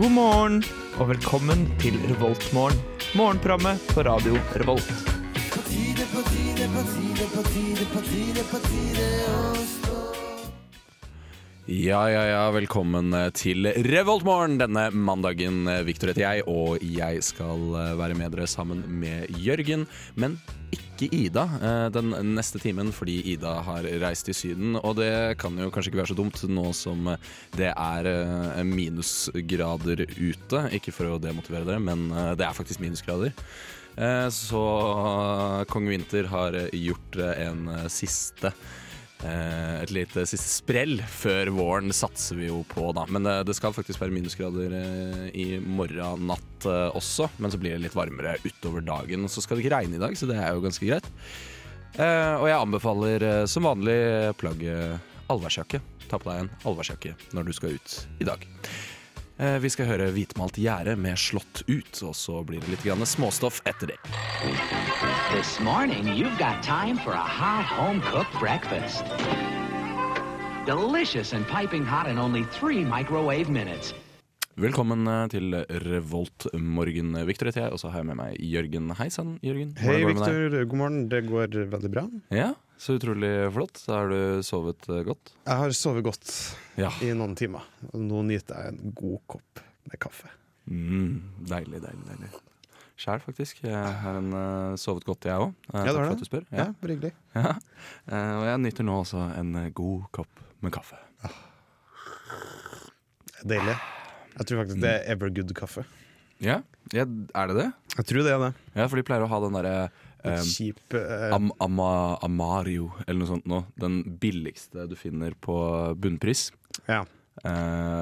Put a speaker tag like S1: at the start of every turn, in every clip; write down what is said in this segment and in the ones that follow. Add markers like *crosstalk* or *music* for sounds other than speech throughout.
S1: God morgen og velkommen til Revoltmorgen. Morgenprogrammet på radio Revolt.
S2: Ja, ja, ja, velkommen eh, til Revoltmorgen denne mandagen. eh, Victor heter jeg, og jeg skal eh, være med dere sammen med Jørgen. Men ikke Ida eh, den neste timen, fordi Ida har reist til Syden. Og det kan jo kanskje ikke være så dumt nå som det er eh, minusgrader ute. Ikke for å demotivere dere, men eh, det er faktisk minusgrader. Eh, Så kong Winter har eh, gjort en siste Eh, et lite siste sprell før våren satser vi jo på, da. Men eh, det skal faktisk være minusgrader eh, i morgen natt eh, også. Men så blir det litt varmere utover dagen. Så skal det ikke regne i dag, så det er jo ganske greit. Eh, og jeg anbefaler eh, som vanlig eh, plagget allværsjakke. Ta på deg en allværsjakke når du skal ut i dag. Eh, vi skal høre hvitmalt gjerde med slått ut, og så blir det litt grann småstoff etter det.
S3: This morning, you've got time for a hot home cooked breakfast. Delicious and piping hot in only three microwave minutes.
S2: Velkommen eh, til Revolt morgen, Victor heter jeg, og så har jeg med meg Jørgen. Hei sann, Jørgen. Hvordan
S4: Hei,
S2: går det med deg?
S4: Viktor. God morgen. Det går veldig bra.
S2: Ja, så utrolig flott. Da har du sovet eh, godt?
S4: Jeg har sovet godt
S2: Ja.
S4: i noen timer. og Nå nyter jeg en god kopp med kaffe.
S2: Mm, deilig, deilig, deilig. Sjæl, faktisk. Jeg har en, eh, sovet godt, jeg òg.
S4: Ja, det
S2: takk
S4: har
S2: for
S4: du.
S2: at du spør.
S4: Ja, bare hyggelig.
S2: Ja. Eh, og jeg nyter nå også en eh, god kopp med kaffe.
S4: Deilig. Jeg tror faktisk det er Evergood-kaffe.
S2: Ja, ja er det det?
S4: Jeg tror det er det.
S2: Ja, for de pleier å ha den derre
S4: Litt
S2: eh,
S4: kjip eh,
S2: Am ama Amario, eller noe sånt nå. Den billigste du finner på bunnpris.
S4: ja.
S2: Eh,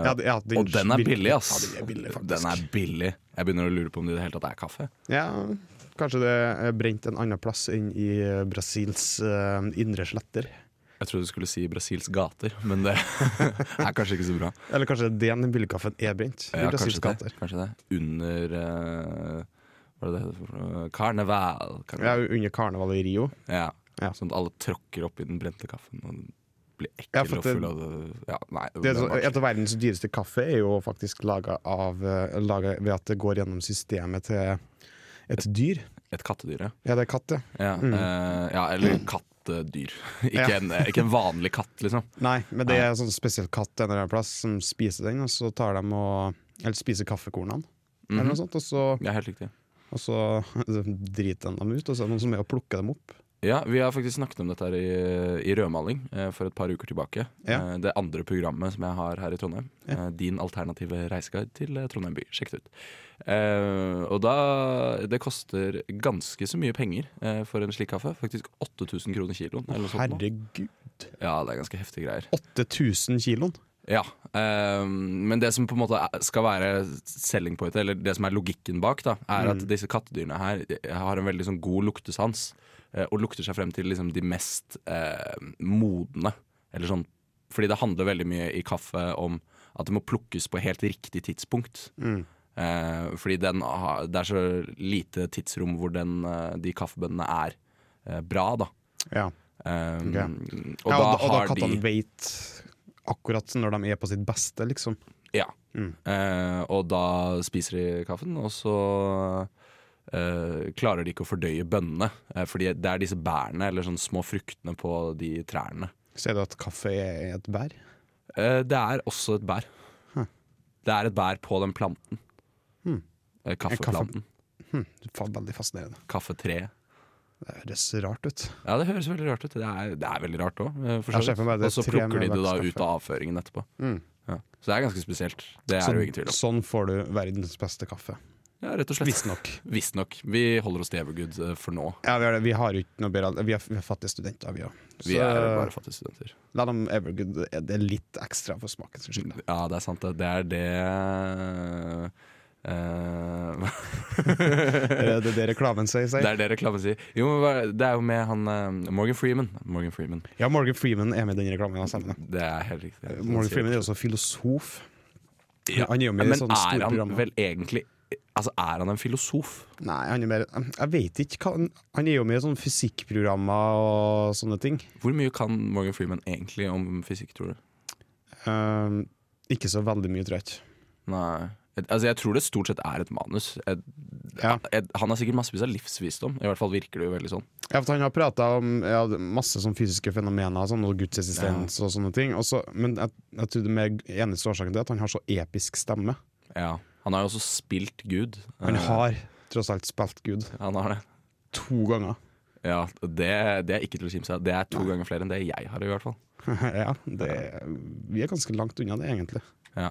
S4: Ja, det- ja, den-
S2: og den er billig, ass.
S4: Ja, den er billig, faktisk.
S2: Den er billig. Jeg begynner å lure på om det i det hele tatt er kaffe.
S4: ja, kanskje det er brent en annen plass enn i Brasils eh, indre sletter.
S2: Jeg trodde du skulle si Brasils gater, men det *laughs* er kanskje ikke så bra.
S4: Eller kanskje den billigkaffen er brent i
S2: Ja,
S4: Brasils
S2: kanskje, det,
S4: gater.
S2: kanskje det. Under eh, Hva er det det heter? for noe? Karneval.
S4: Ja,
S2: Karneval.
S4: under karnevalet i Rio.
S2: Ja.
S4: Ja.
S2: Sånn at alle tråkker oppi den brente kaffen og blir
S4: Ja,
S2: ekkel
S4: for
S2: og
S4: det-
S2: full av det. Ja, nei,
S4: Det
S2: det
S4: er så,
S2: var ikke-
S4: et av verdens dyreste kaffe er jo faktisk laga ved at det går gjennom systemet til et dyr.
S2: et kattedyr, ja.
S4: Ja, det er katt, ja.
S2: Ja, eh, ja eller kattedyr. *laughs* Ikke,
S4: Mm. Ja.
S2: en, ikke en vanlig katt, liksom.
S4: Nei, men det er en sånn spesiell katt en eller annen plass som spiser den, og så tar de og Eller spiser kaffekornene, eller noe sånn- sånt, og så,
S2: Ja, Mhm. helt riktig.
S4: og så *laughs* driter de dem ut, og så er det noen som er og plukker dem opp.
S2: Ja, Vi har faktisk snakket om dette her i, i Rødmaling eh, for et par uker tilbake.
S4: Ja.
S2: Eh, det andre programmet som jeg har her i Trondheim. Eh, din alternative reiseguide til eh, Trondheim by. Sjekk det ut. Eh, og da Det koster ganske så mye penger eh, for en slik kaffe. Faktisk 8000 kroner kiloen. Eller noe sånt nå.
S4: Herregud.
S2: Ja, det er ganske heftige greier.
S4: 8000 kiloen.
S2: Ja, eh, men det som på en måte er- skal være selling point, eller det som er logikken bak, da, er
S4: Mm.
S2: at disse kattedyrene her de har en veldig sånn god luktesans. eh, Og lukter seg frem til liksom de mest eh, modne. Eller sånn, fordi det handler veldig mye i kaffe om at det må plukkes på helt riktig tidspunkt.
S4: Mm.
S2: Eh, fordi den har, det er så lite tidsrom hvor den, eh, de kaffebønnene er eh, bra, da.
S4: Ja.
S2: Eh,
S4: Ok.
S2: Og
S4: ja,
S2: da
S4: og da
S2: har de
S4: kattene vet akkurat når de er på sitt beste, liksom.
S2: Ja.
S4: Mm.
S2: Eh, og da spiser de kaffen, og så eh, klarer de ikke å fordøye bønnene. Eh, fordi det er disse bærene, eller sånne små fruktene på de trærne.
S4: Ser du at kaffe er et bær?
S2: Eh, det er også et bær. Det er et bær på den planten.
S4: Hmm.
S2: Eh, kaffeplanten.
S4: Fa- Hm, Veldig fascinerende.
S2: Kaffetreet.
S4: Det høres rart ut.
S2: Ja, det høres veldig rart ut. Det er, det er veldig rart òg. Og
S4: Jeg ser for meg det
S2: så
S4: treet
S2: plukker
S4: med
S2: de det da
S4: vekststoff,
S2: ut av avføringen etterpå. Ja. Så det er ganske spesielt. Det er det jo ingen tvil om.
S4: sånn får du verdens beste kaffe.
S2: Ja, rett og slett.
S4: Visstnok.
S2: Visstnok. Vi holder oss til Evergood eh, for nå.
S4: Ja, vi har, det. vi har jo ikke noe bedre Vi er, vi er fattige studenter, vi òg.
S2: Vi er bare fattige studenter.
S4: La dem Evergood Det er litt ekstra for smakens
S2: *laughs*
S4: skyld. da.
S2: Ja, det er sant. det. Det er det eh, *laughs*
S4: Det er det reklamen sier. sier.
S2: Det er det reklamen sier. Jo, men hva- det er jo med han eh, Morgan Freeman. Morgan Freeman.
S4: Ja, Morgan Freeman er med i den reklamen. ja, stemmer det.
S2: Det er helt riktig.
S4: Eh, Morgan Freeman er jo også filosof.
S2: Ja,
S4: Han er jo med i
S2: Men
S4: sånne
S2: er
S4: store
S2: han
S4: programmer.
S2: vel egentlig Altså, er han en filosof?
S4: Nei, han er mer Jeg vet ikke hva han- Han er jo med i sånne fysikkprogrammer og sånne ting.
S2: Hvor mye kan Morgan Freeman egentlig om fysikk, tror du?
S4: Ehm, ikke så veldig mye, tror jeg ikke.
S2: Nei. Altså, jeg tror det stort sett er et manus. Jeg,
S4: Ja.
S2: jeg, han har sikkert massevis av livsvisdom. I hvert fall virker det jo veldig sånn.
S4: Ja, for Han har prata om ja, masse sånn fysiske fenomener sånn, og Guds eksistens og sånne ting. Og så- men jeg, jeg tror det mer eneste årsaken til det er at han har så episk stemme.
S2: Ja. Han har jo også spilt Gud.
S4: Han
S2: Eh,
S4: har tross alt spilt Gud
S2: han har det.
S4: to ganger. *laughs*
S2: Ja, det, det er ikke til å kimse av. Det er to ganger flere enn det jeg har, i hvert fall.
S4: ja, det, vi er ganske langt unna det, egentlig.
S2: Ja.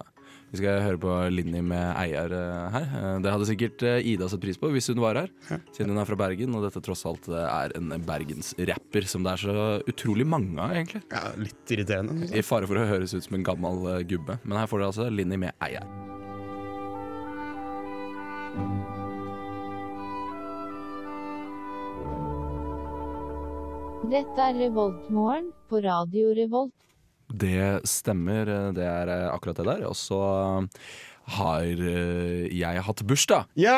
S2: Vi skal høre på Linni med eier eh, her. Eh, Det hadde sikkert eh, Ida satt pris på hvis hun var her, siden hun er fra Bergen. Og dette tross alt eh, er en bergensrapper som det er så utrolig mange av, egentlig.
S4: Ja, litt irriterende. altså. synes jeg.
S2: I fare for å høres ut som en gammel eh, gubbe. Men her får dere altså Linni med eier.
S5: Dette er Revoltmorgen på Radio Revolt.
S2: Det stemmer, det er eh, akkurat det der. Og så eh, har eh, jeg hatt bursdag. Ja,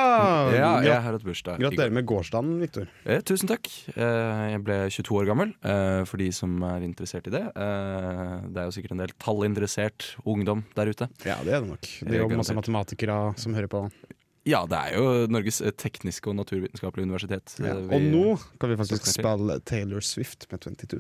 S4: Ja!
S2: jeg
S4: grat-
S2: har hatt bursdag. i går.
S4: Gratulerer med gårsdagen, Viktor.
S2: Eh, tusen takk. Eh, jeg ble 22 år gammel, eh, for de som er interessert i det. Eh, det er jo sikkert en del tallinteressert ungdom der ute.
S4: Ja, det er det nok. Det er jo masse matematikere som hører på.
S2: Ja, det er jo Norges eh, tekniske og naturvitenskapelige universitet.
S4: Ja.
S2: eh, vi-
S4: Og nå kan vi faktisk
S2: snakker.
S4: spille Taylor Swift med 22.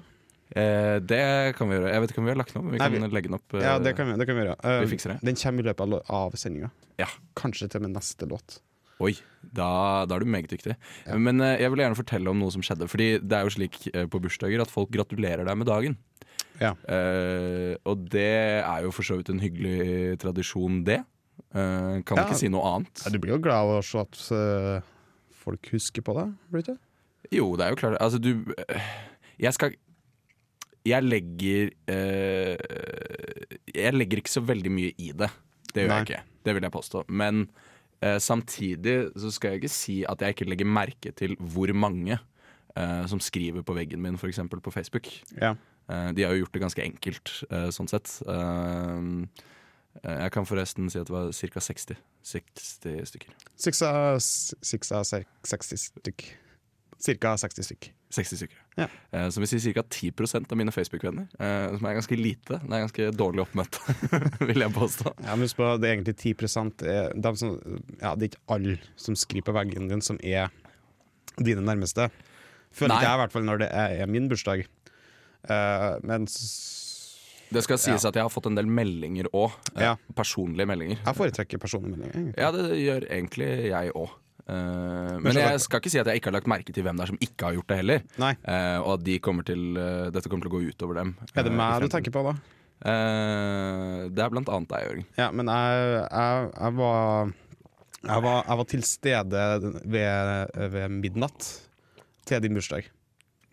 S2: eh, Det kan vi gjøre. Jeg vet ikke om vi har lagt den opp, men vi
S4: Nei,
S2: kan
S4: vi-
S2: legge den opp. eh,
S4: Ja, det kan vi, det kan vi gjøre. Eh,
S2: Vi fikser det.
S4: Den kommer i løpet av lo- av sendinga.
S2: Ja.
S4: Kanskje til og med neste låt.
S2: Oi, da, da er du meget dyktig. Men eh, jeg vil gjerne fortelle om noe som skjedde. Fordi det er jo slik eh, på bursdager at folk gratulerer deg med dagen.
S4: Ja.
S2: Eh, og det er jo for så vidt en hyggelig tradisjon, det. Eh, kan
S4: Ja.
S2: ikke si noe annet.
S4: Ja, du blir jo glad av å se at eh, folk husker på deg, blir du ikke?
S2: Jo, det er jo klart. Altså, du øh, Jeg skal Jeg legger øh, Jeg legger ikke så veldig mye i det. Det gjør
S4: Nei.
S2: jeg ikke. Det vil jeg påstå. Men øh, samtidig så skal jeg ikke si at jeg ikke legger merke til hvor mange øh, som skriver på veggen min, f.eks. på Facebook.
S4: Ja.
S2: Eh, de har jo gjort det ganske enkelt, eh, sånn sett. Eh, jeg kan forresten si at det var ca. 60. 60 stykker.
S4: Seks av s- seks av ser- 60 stykk. Cirka 60 stykk.
S2: 60 stykker.
S4: Ja.
S2: Eh, som vil si ca. 10 av mine Facebook-venner. Eh, som er ganske lite. Det er ganske dårlig oppmøte, *laughs* vil jeg påstå.
S4: Ja, men husk på, det er egentlig 10 er dem som, ja, Det er ikke alle som skriver på veggen din, som er dine nærmeste. Føler
S2: Nei.
S4: ikke jeg, i hvert fall når det er er min bursdag. Eh, men s-
S2: Det skal sies at jeg har fått en del meldinger òg. Eh,
S4: Ja.
S2: Personlige meldinger.
S4: jeg foretrekker personlige meldinger. egentlig.
S2: Ja, det gjør egentlig jeg òg. Eh, men
S4: så-
S2: jeg skal ikke si at jeg ikke har lagt merke til hvem det er som ikke har gjort det heller.
S4: Nei.
S2: Eh, og at de kommer til, eh, dette kommer til å gå utover dem. eh,
S4: Er det meg du tenker på, da?
S2: det er blant annet deg, Jørgen.
S4: Ja, men jeg, jeg, jeg var jeg var, jeg var til stede ved, ved midnatt til din bursdag.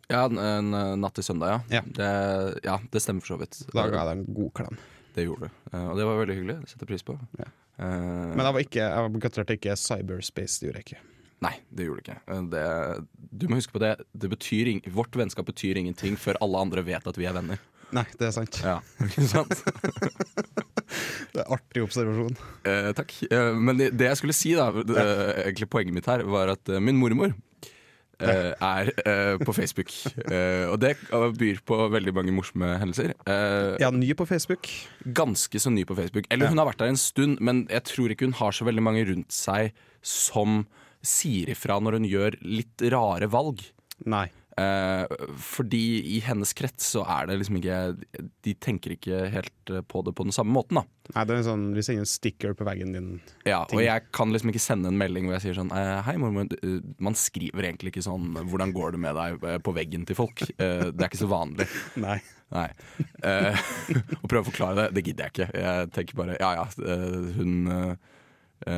S2: Ja, en, en Natt til søndag, ja.
S4: Ja.
S2: Det, ja, det stemmer for så vidt.
S4: Da ga jeg deg en god klem.
S2: Det gjorde du, Eh, og det var veldig hyggelig. Det setter jeg pris på.
S4: Ja.
S2: Eh,
S4: Men jeg var ikke, jeg gratulerte ikke cyberspace. Det gjorde jeg ikke.
S2: nei, det gjorde du ikke. Eh, Det, du må huske på det. det betyr ing, vårt vennskap betyr ingenting før alle andre vet at vi er venner.
S4: Nei, det er sant.
S2: Ja, ikke sant?
S4: Det er Artig observasjon.
S2: *laughs* Eh, takk. Eh, men det, det jeg skulle si, da, det, eh, egentlig poenget mitt her, var at eh, min mormor eh, er eh, på Facebook. Eh, og det eh, byr på veldig mange morsomme hendelser. Eh,
S4: Jeg er ny på Facebook.
S2: ganske så ny på Facebook. Eller hun har vært der en stund, men jeg tror ikke hun har så veldig mange rundt seg som sier ifra når hun gjør litt rare valg.
S4: Nei.
S2: Eh, fordi i hennes krets så er det liksom ikke De tenker ikke helt eh, på det på den samme måten, da.
S4: Nei, det er en sånn, Vi sender en sticker på veggen din.
S2: Ja, og
S4: Ting.
S2: jeg kan liksom ikke sende en melding hvor jeg sier sånn eh, Hei, mormor. du- eh, Man skriver egentlig ikke sånn 'Hvordan går det med deg?' eh, på veggen til folk. Eh, det er ikke så vanlig.
S4: Nei.
S2: Nei. Eh, *laughs* å prøve å forklare det, det gidder jeg ikke. Jeg tenker bare ja ja, eh, hun eh, eh,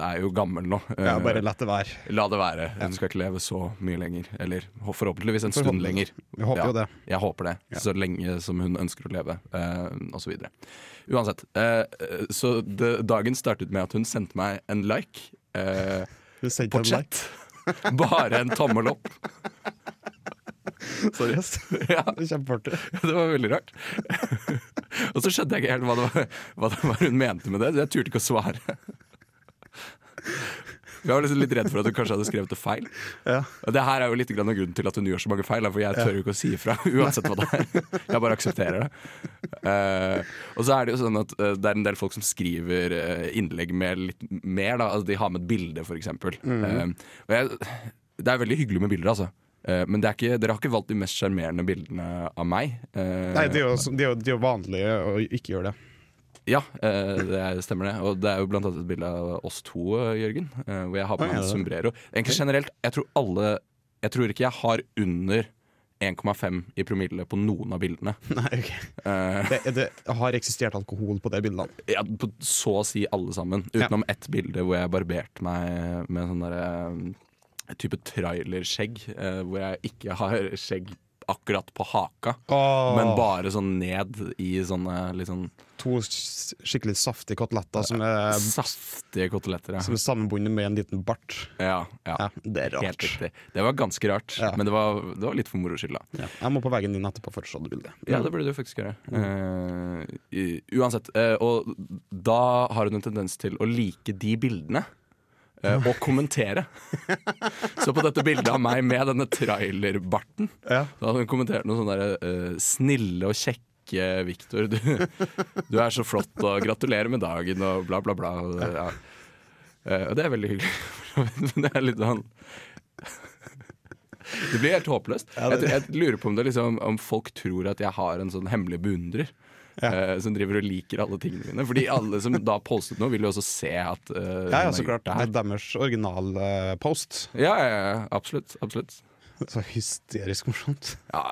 S2: er jo gammel nå. Eh,
S4: Ja, bare la det være.
S2: La det være. Hun skal ikke leve så mye lenger. Eller ho- forhåpentligvis en stund
S4: Forhåpentlig-
S2: lenger.
S4: Vi håper
S2: Ja,
S4: jo det.
S2: Jeg håper det. Så lenge som hun ønsker å leve, eh, og så videre. Uansett. eh, eh, så det, dagen startet med at hun sendte meg en like. eh,
S4: Du sendte
S2: på
S4: en like.
S2: chat. *laughs* Bare en tommel opp.
S4: *laughs* Seriøst.
S2: Ja.
S4: Det er Kjempeartig.
S2: Det var veldig rart. og så skjønte jeg ikke helt hva det var, hva det var hun mente med det, så jeg turte ikke å svare. Vi var liksom litt redd for at du kanskje hadde skrevet det feil.
S4: Ja.
S2: Og Det her er jo litt grann av grunnen til at hun gjør så mange feil, da, for jeg tør jo ikke å si ifra *laughs* uansett hva det er. Jeg bare aksepterer det. Eh, og så er det jo sånn at eh, det er en del folk som skriver eh, innlegg med litt mer. Da. Altså, de har med et bilde, f.eks.
S4: Mhm.
S2: og jeg, det er veldig hyggelig med bilder, altså. Eh, men det er ikke, dere har ikke valgt de mest sjarmerende bildene av meg. Eh,
S4: Nei, det er, jo, det, er jo, det er jo vanlig å ikke gjøre det.
S2: ja, eh, det er- stemmer det. Og det er jo blant annet et bilde av oss to, eh, Jørgen. eh, hvor jeg har på
S4: Oi,
S2: meg en
S4: ja, det-
S2: sombrero. Egentlig generelt, jeg tror alle Jeg tror ikke jeg har under 1,5 i promille på noen av bildene.
S4: Nei, ok
S2: Eh,
S4: det, det har eksistert alkohol på de bildene.
S2: ja, på så å si alle sammen. Utenom ett bilde hvor jeg barberte meg med sånn derre eh, type trailerskjegg. eh, hvor jeg ikke har skjegg akkurat på haka,
S4: Åh.
S2: men bare sånn ned i sånne litt sånn
S4: To s- skikkelig saftige koteletter som er,
S2: saftige koteletter. ja.
S4: som er sammenbundet med en liten bart.
S2: Ja, ja.
S4: Ja, det er
S2: Helt
S4: rart.
S2: riktig. Det var ganske rart,
S4: Ja.
S2: men det var, det var litt for moro skyld, da.
S4: Ja. Jeg må på veggen din etterpå for å se det bildet.
S2: Ja, det burde du faktisk gjøre. Eh, i- uansett. eh, og da har hun en tendens til å like de bildene. eh, og *laughs* kommentere. Så på dette bildet av meg med denne trailerbarten,
S4: Ja.
S2: da hadde hun kommentert noe sånn derre eh, snille og kjekke Victor, du, du er så flott, og gratulerer med dagen, og bla, bla, bla. Og, ja. Eh, og det er veldig hyggelig. *laughs* Men det er litt sånn Det blir helt håpløst. Jeg, tror- jeg lurer på om, det liksom, om folk tror at jeg har en sånn hemmelig beundrer. eh, som driver og liker alle tingene mine. Fordi alle som da postet noe, vil jo også se at eh,
S4: Ja,
S2: hun har
S4: ja, så
S2: gjort
S4: klart.
S2: det her.
S4: Det er deres originalpost.
S2: Ja, ja, ja, absolutt. absolutt.
S4: Så hysterisk morsomt.
S2: Ja,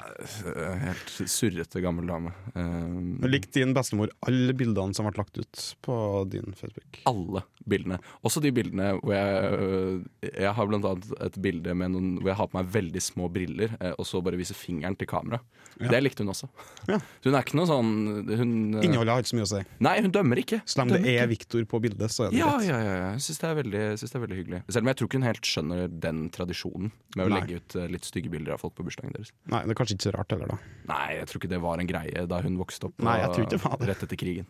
S2: øh, helt surrete gammel dame. Ehm,
S4: Nå likte din bestemor alle bildene som ble lagt ut på din Facebook.
S2: alle bildene. Også de bildene hvor jeg øh, Jeg har blant annet et bilde med noen, hvor jeg har på meg veldig små briller, eh, og så bare viser fingeren til kamera. Det likte hun også.
S4: Ja.
S2: Så hun er ikke noe sånn hun, øh,
S4: Innholdet har ikke så mye å si.
S2: Nei, hun dømmer ikke.
S4: Så lenge det er Viktor på bildet, så er det
S2: Ja,
S4: greit.
S2: ja, ja. ja. Jeg syns det, er veldig- jeg synes det er veldig hyggelig. Selv om jeg tror ikke hun helt skjønner den tradisjonen med å
S4: Nei.
S2: legge ut eh, litt stygge bilder av folk på bursdagen deres.
S4: Nei, det er kanskje ikke så rart heller, da.
S2: Nei, jeg tror ikke det var en greie da hun vokste opp.
S4: Nei,
S2: og-
S4: jeg tror ikke det var det. Mm.
S2: Rett etter krigen.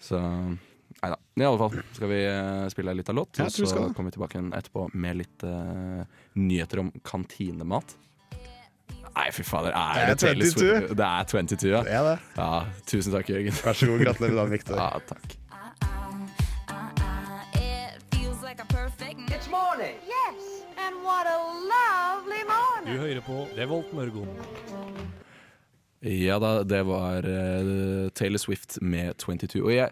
S2: Så nei da. I alle fall skal vi eh, spille litt av låt,
S4: Ja,
S2: og
S4: jeg tror vi skal
S2: så
S4: det.
S2: kommer vi tilbake igjen etterpå med litt eh, nyheter om kantinemat. Nei, fy fader. Er det,
S4: Det er
S2: Taylor
S4: 22?
S2: Swift? Det er 22, ja.
S4: er det.
S2: ja. Tusen takk,
S4: *laughs*
S2: Jørgen.
S4: Vær så god, gratulerer med dagen, Viktor.
S2: Ja, takk.
S6: Uh, It feels like a perfect night.
S3: morning.
S7: Yes, and what a lovely morning.
S8: Du hører på Revolt Mørgon.
S2: Ja da, det var eh, Taylor Swift med 22. Og jeg,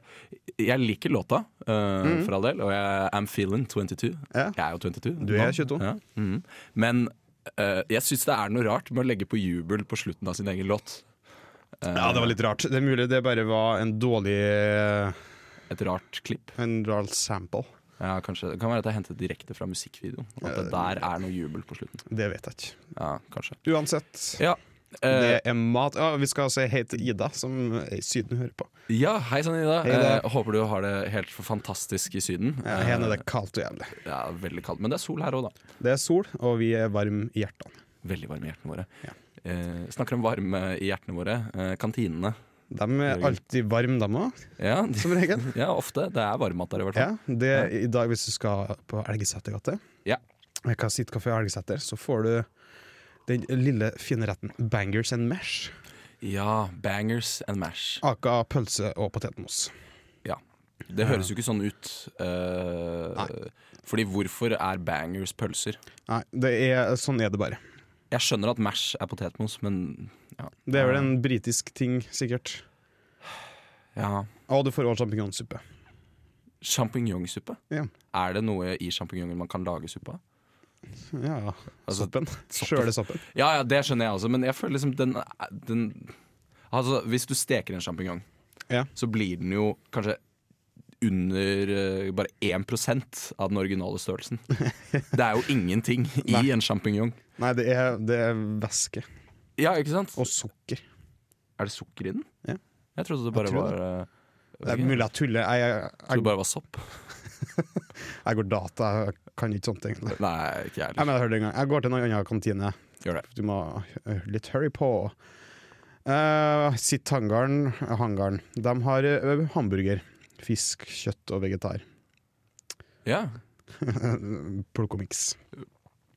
S2: jeg liker låta, eh, for all del, og jeg I'm feeling 22.
S4: Mhm. Ja.
S2: Jeg er jo 22.
S4: Du er
S2: nå.
S4: 22.
S2: Ja. mhm. Men eh, jeg syns det er noe rart med å legge på jubel på slutten av sin egen låt.
S4: *laughs* Ja, det var litt rart. Det er mulig det bare var en dårlig eh,
S2: Et rart klipp.
S4: En rar sample.
S2: Ja, kanskje. Det kan være at jeg hentet direkte fra musikkvideoen. At det der er noe jubel på slutten.
S4: Det vet jeg ikke.
S2: Ja, kanskje.
S4: Uansett.
S2: Ja. eh,
S4: Det er mat ja, Vi skal si hei til Ida, som er i Syden hører på.
S2: ja, hei sann, Ida.
S4: Hei, Ida.
S2: Eh, håper du har det helt fantastisk i Syden.
S4: Ja, her er det kaldt og jævlig.
S2: Eh, ja, veldig kaldt. Men det er sol her òg, da.
S4: Det er sol, og vi er varme i hjertene.
S2: Veldig varme i hjertene våre.
S4: Ja.
S2: Eh, snakker om varme i hjertene våre. Eh, kantinene.
S4: De er alltid varme, de òg,
S2: Ja, de,
S4: som regel. *laughs*
S2: ja, ofte. Det er varmmat der, i hvert
S4: Ja,
S2: fall.
S4: det, I dag, hvis du skal på eh, Elgesetergata,
S2: Ja.
S4: Sittkafé Elgeseter, så får du den lille fine retten bangers and mash,
S2: Ja, bangers and mash.
S4: aka pølse og potetmos.
S2: Ja. Det høres jo ikke sånn ut. eh, fordi hvorfor er bangers pølser?
S4: Nei, det er, sånn er det bare.
S2: Jeg skjønner at mash er potetmos, men ja.
S4: Det er vel en britisk ting, sikkert.
S2: ja.
S4: Og du får også sjampinjongsuppe.
S2: Sjampinjongsuppe?
S4: Ja.
S2: Er det noe i sjampinjongen man kan lage suppe av?
S4: Ja, ja.
S2: Altså,
S4: soppen. Sjøle soppen.
S2: Ja, ja, det skjønner jeg også, men jeg føler liksom den, den Altså, hvis du steker en sjampinjong,
S4: Ja.
S2: så blir den jo kanskje under eh, bare 1 av den originale
S4: *laughs*
S2: størrelsen. Det er jo ingenting i
S4: Nei.
S2: en sjampinjong.
S4: Nei, det er, det er væske
S2: Ja, ikke sant?
S4: og sukker.
S2: Er det sukker i den?
S4: Ja.
S2: Jeg trodde det bare
S4: Jeg tror
S2: var
S4: det.
S2: eh,
S4: Det er mulig jeg tuller. Jeg, jeg,
S2: trodde det
S4: jeg,
S2: bare var sopp.
S4: jeg går data, jeg kan ikke sånt egentlig.
S2: Nei, ikke jeg
S4: Jeg,
S2: heller.
S4: mener, jeg, hørte det en gang. jeg går til en annen kantine.
S2: Gjør det.
S4: Du må eh, litt hurry på. Uh, sitt hangaren, hangaren. *laughs* De har eh, hamburger, fisk, kjøtt og vegetar.
S2: Ja.
S4: Plukkomiks.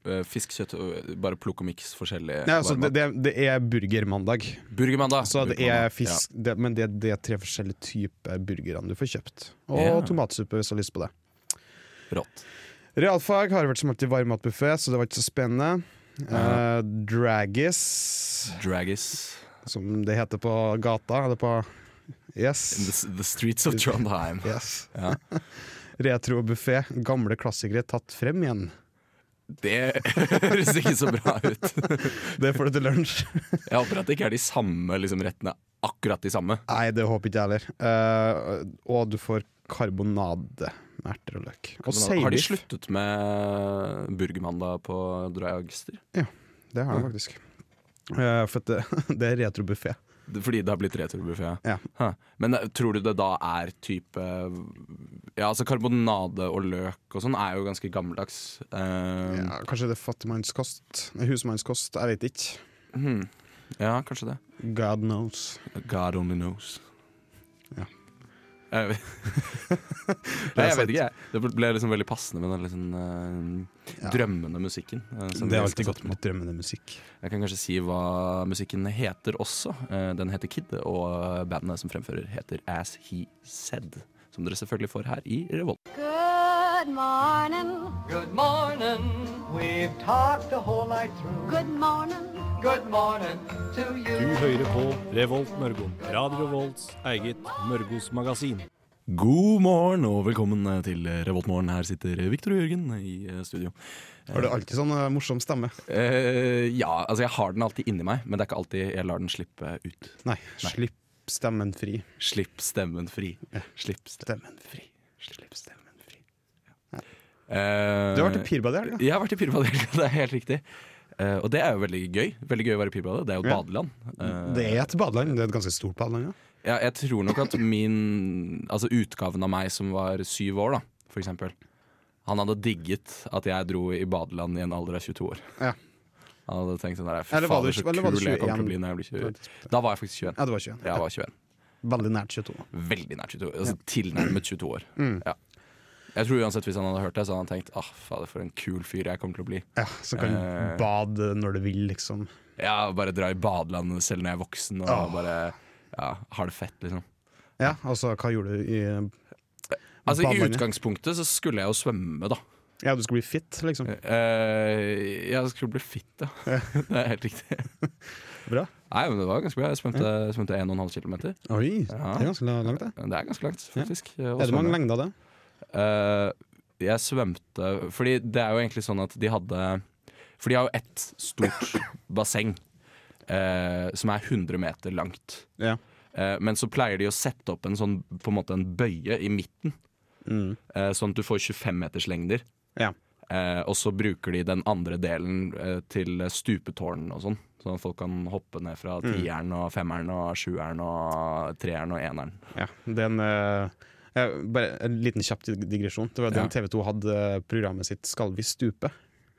S2: Eh, Fisk, kjøtt og Bare plukk og miks forskjellige
S4: Nei, altså, det,
S2: varmer.
S4: det, det er burgermandag,
S2: Burgermandag.
S4: så det
S2: Burgermandag,
S4: er fisk, det, men det, det er tre forskjellige typer burgerne du får kjøpt. Og
S2: Ja.
S4: tomatsuppe hvis du har lyst på det.
S2: Ja, rått.
S4: Realfag har vært som alltid varmmatbuffé, så det var ikke så spennende. Eh, Dragis,
S2: Dragis.
S4: som det heter på gata, eller på
S2: In the,
S4: Yes.
S2: s- the streets
S4: *laughs*
S2: of Trondheim.
S4: yes.
S2: Ja.
S4: *laughs* Retrobuffé. Gamle klassikere tatt frem igjen.
S2: Det *laughs* høres ikke så bra ut.
S4: *laughs* Det får du til lunsj.
S2: *laughs* Jeg håper at det ikke er de samme liksom, rettene. Akkurat de samme.
S4: *laughs* Nei, det håper ikke jeg heller. Eh, og du får karbonade med erter og løk. Og
S2: Men Har de
S4: seilbiff.
S2: sluttet med Burgermandag på Dragster?
S4: Det har jeg faktisk. Eh, for at det, *laughs* det er retrobuffé.
S2: Fordi det har blitt returbuffé?
S4: Ja.
S2: Huh. Men eh, tror du det da er type Ja, altså karbonade og løk og sånn er jo ganske gammeldags. Eh,
S4: Ja, kanskje det er fattigmannskost? Nei, Husmannskost? Jeg vet ikke.
S2: hmm. ja, kanskje det.
S4: God knows.
S2: God only knows.
S4: Ja.
S2: Jeg vet, *laughs*
S4: er
S2: Nei, jeg vet
S4: sant.
S2: ikke, jeg. Det ble liksom veldig passende med den litt sånn, eh,
S4: Ja.
S2: drømmende musikken. eh, som
S4: det er
S2: vi skal
S4: alltid godt
S2: sette på.
S4: med litt drømmende musikk.
S2: Jeg kan kanskje si hva musikken heter også. Eh, Den heter Kid, og eh, bandet som fremfører heter As He Said. Som dere selvfølgelig får her i Revolt.
S7: Good morning.
S9: Good morning. We've talked the whole night through.
S7: Good morning.
S9: Good morning to
S8: Du
S9: you.
S8: hører på Revolt Mørgon. Radio Revolts eget Mørgos magasin.
S2: God morgen og velkommen eh, til Revoltmorgen. Her sitter Victor og Jørgen i eh, studio.
S4: Har du alltid sånn eh, morsom stemme?
S2: Eh, ja, altså jeg har den alltid inni meg, men det er ikke alltid jeg lar den slippe ut.
S4: Nei, slipp stemmen fri.
S2: Slipp stemmen fri. Slipp stemmen.
S4: Stemmen fri. Slipp stemmen fri.
S2: Du
S4: Du har vært i Pirbadet i helga?
S2: Eh, Jeg har vært i Pirbadet, *laughs* det er helt riktig. Eh, og det er jo veldig gøy. Veldig gøy å være i Pirbadet. Det er jo et
S4: Ja.
S2: badeland. Eh,
S4: Det er et badeland. Det er et ganske stort badeland, ja.
S2: Ja, jeg tror nok at min Altså utgaven av meg som var syv år, da, for eksempel. Han hadde digget at jeg dro i badeland i en alder av 22 år.
S4: Ja.
S2: Han hadde tenkt sånn der, Fy
S4: Eller var
S2: fader,
S4: du-
S2: så
S4: eller var du
S2: kul jeg kommer til
S4: 21?
S2: å bli når jeg blir 20.
S4: Ja,
S2: Da var jeg faktisk 21.
S4: det var 21.
S2: Ja, Jeg var 21.
S4: Veldig nært 22.
S2: Veldig nær 22. Altså tilnærmet 22 år.
S4: Mm.
S2: Ja. Jeg tror uansett Hvis han hadde hørt det, så hadde han tenkt ah, fader, for en kul fyr jeg kommer til å bli.
S4: Ja, så kan du
S2: Eh.
S4: bade når du vil, liksom.
S2: Ja, Bare dra i badeland selv når jeg er voksen og
S4: Åh.
S2: bare ja, har det fett, liksom.
S4: Ja, altså, hva gjorde du i
S2: Altså I
S4: Badelandet.
S2: utgangspunktet så skulle jeg jo svømme, da.
S4: Ja, du skulle bli fit, liksom.
S2: Eh, jeg skulle bli fitt, ja. *laughs* det er helt riktig.
S4: Bra.
S2: Nei, men det var ganske bra. Jeg svømte, svømte 1,5 km.
S4: Oi, det
S2: Ja.
S4: er ganske langt, det.
S2: Det er ganske langt, faktisk. å
S4: Er det mange
S2: svømme.
S4: lengder, det?
S2: Eh, jeg svømte Fordi det er jo egentlig sånn at de hadde For de har jo ett
S4: *coughs*
S2: stort basseng eh, som er 100 meter langt.
S4: Ja.
S2: Eh, men så pleier de å sette opp en sånn På en måte en bøye i midten,
S4: Mm.
S2: eh, sånn at du får 25-meterslengder.
S4: Ja.
S2: Eh, og så bruker de den andre delen eh, til stupetårn og sånn. Sånn at folk kan hoppe ned fra
S4: Mm.
S2: tieren og femmeren og sjueren og treeren og eneren.
S4: Ja, det er en, eh, eh, bare en liten kjapp dig- digresjon. Det var
S2: Ja.
S4: den TV 2 hadde eh, programmet sitt 'Skal vi stupe?'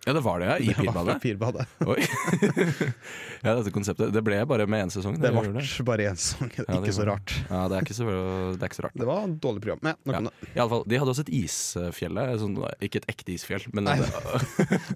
S2: Ja, det var det, ja. I
S4: *laughs* Det var fra
S2: Pirbadet.
S4: Pirbadet.
S2: Oi. *laughs* ja, dette konseptet. Det ble bare med én sesong.
S4: Det
S2: gjorde
S4: ble bare én sang. Det er
S2: Ja,
S4: Ikke
S2: det
S4: så
S2: gjorde
S4: rart.
S2: Ja, det er ikke så, det er ikke så rart.
S4: Det var et dårlig program. Men, nok
S2: Ja.
S4: om det.
S2: I alle fall, de hadde også et isfjell der. Sånn, ikke et ekte isfjell, men
S4: Nei.
S2: det,